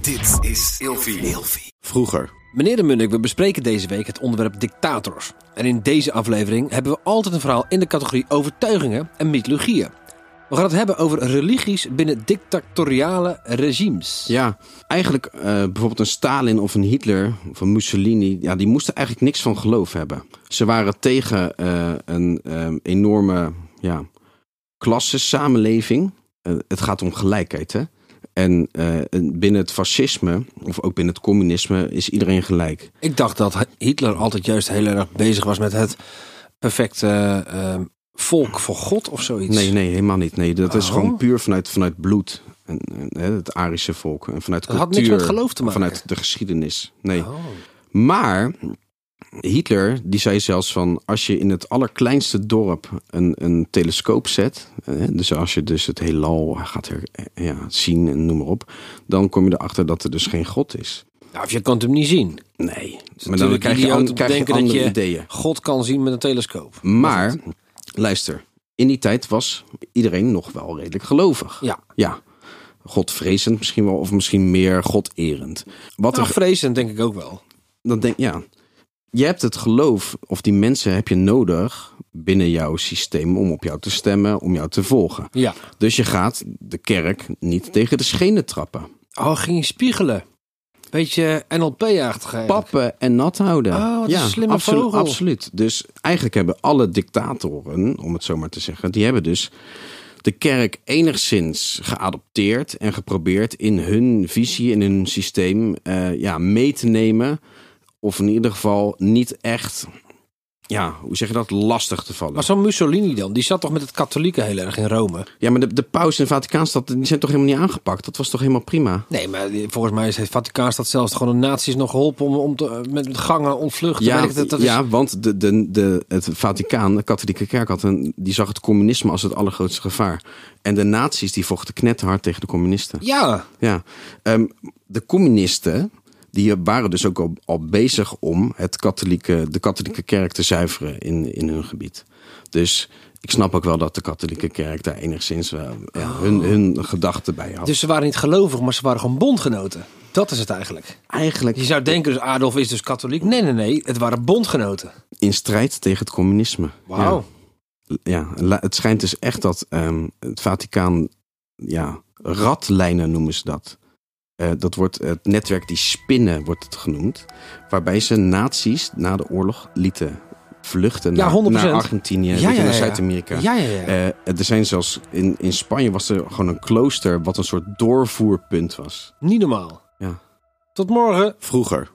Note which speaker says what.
Speaker 1: Dit is Ilfie.
Speaker 2: Vroeger.
Speaker 3: Meneer de Munnik, we bespreken deze week het onderwerp dictators. En in deze aflevering hebben we altijd een verhaal in de categorie overtuigingen en mythologieën. We gaan het hebben over religies binnen dictatoriale regimes.
Speaker 2: Ja, eigenlijk eh, bijvoorbeeld een Stalin of een Hitler of een Mussolini, ja, die moesten eigenlijk niks van geloof hebben. Ze waren tegen eh, een ehm, enorme ja, klassensamenleving. Eh, het gaat om gelijkheid, hè? En eh, en binnen het fascisme, of ook binnen het communisme, is iedereen gelijk.
Speaker 3: Ik dacht dat Hitler altijd juist heel erg bezig was met het perfecte eh, volk voor God of zoiets.
Speaker 2: Nee, nee, helemaal niet. Nee, dat is
Speaker 3: Oh.
Speaker 2: gewoon puur vanuit, vanuit bloed. En, en, hè, het Arische volk. En vanuit
Speaker 3: Dat had
Speaker 2: cultuur.
Speaker 3: niks met geloof te maken.
Speaker 2: Vanuit de geschiedenis. Nee.
Speaker 3: Oh.
Speaker 2: Maar Hitler, die zei zelfs van... als je in het allerkleinste dorp een, een telescoop zet... hè, dus als je dus het heelal gaat her- ja, zien en noem maar op... dan kom je erachter dat er dus geen God is.
Speaker 3: Nou, of je kan het hem niet zien.
Speaker 2: Nee. Maar dan
Speaker 3: natuurlijk
Speaker 2: krijg je,
Speaker 3: idioot om
Speaker 2: an-
Speaker 3: te
Speaker 2: krijg je
Speaker 3: denken dat
Speaker 2: andere
Speaker 3: je-
Speaker 2: ideeën.
Speaker 3: God kan zien met een telescoop.
Speaker 2: Maar, luister, in die tijd was iedereen nog wel redelijk gelovig.
Speaker 3: Ja.
Speaker 2: Ja. Godvrezend misschien wel, of misschien meer goderend. Wat
Speaker 3: Nou,
Speaker 2: er,
Speaker 3: vrezen denk ik ook wel.
Speaker 2: dan denk ja, je hebt het geloof, of die mensen heb je nodig binnen jouw systeem om op jou te stemmen, om jou te volgen.
Speaker 3: Ja.
Speaker 2: Dus je gaat de kerk niet tegen de schenen trappen.
Speaker 3: Oh, ging je spiegelen. Beetje NLP-achtig
Speaker 2: Pappen en nat houden.
Speaker 3: Oh, wat een slimme
Speaker 2: absolu-
Speaker 3: vogel.
Speaker 2: Absoluut. Dus eigenlijk hebben alle dictatoren, om het zo maar te zeggen, die hebben dus de kerk enigszins geadopteerd en geprobeerd in hun visie, in hun systeem, eh, ja, mee te nemen. Of in ieder geval niet echt, ja, hoe zeg je dat, lastig te vallen.
Speaker 3: Maar zo'n Mussolini dan, die zat toch met het katholieke heel erg in Rome?
Speaker 2: Ja, maar de, de paus en de Vaticaanstad, die zijn toch helemaal niet aangepakt? Dat was toch helemaal prima?
Speaker 3: Nee, maar die- volgens mij is het Vaticaanstad zelfs gewoon de nazi's nog geholpen om, om te, met met gangen ontvluchten.
Speaker 2: Ja,
Speaker 3: Weet ik dat- dat is-
Speaker 2: ja want de, de, de, het Vaticaan, de katholieke kerk, had een, die zag het communisme als het allergrootste gevaar. En de nazi's die vochten knetterhard tegen de communisten.
Speaker 3: ja,
Speaker 2: Ja. Ehm, de communisten, die waren dus ook al, al bezig om het katholieke, de katholieke kerk te zuiveren in, in hun gebied. Dus ik snap ook wel dat de katholieke kerk daar enigszins wel, ja, hun, hun gedachten bij had.
Speaker 3: dus ze waren niet gelovig, maar ze waren gewoon bondgenoten. Dat is het eigenlijk.
Speaker 2: eigenlijk
Speaker 3: Je zou denken, dus Adolf is dus katholiek. Nee, nee, nee, het waren bondgenoten.
Speaker 2: in strijd tegen het communisme. Ja.
Speaker 3: Wauw.
Speaker 2: ja, la- het schijnt dus echt dat ehm, het Vaticaan, ja, ratlijnen noemen ze dat. Eh, dat wordt het netwerk die spinnen, wordt het genoemd. Waarbij ze nazi's na de oorlog lieten vluchten
Speaker 3: Ja,
Speaker 2: naar,
Speaker 3: 100%.
Speaker 2: naar Argentinië, weet je, naar Zuid-Amerika.
Speaker 3: Ja, ja, ja.
Speaker 2: Eh, er zijn zelfs in, in Spanje was er gewoon een klooster wat een soort doorvoerpunt was.
Speaker 3: Niet normaal.
Speaker 2: Ja.
Speaker 3: Tot morgen.
Speaker 2: Vroeger.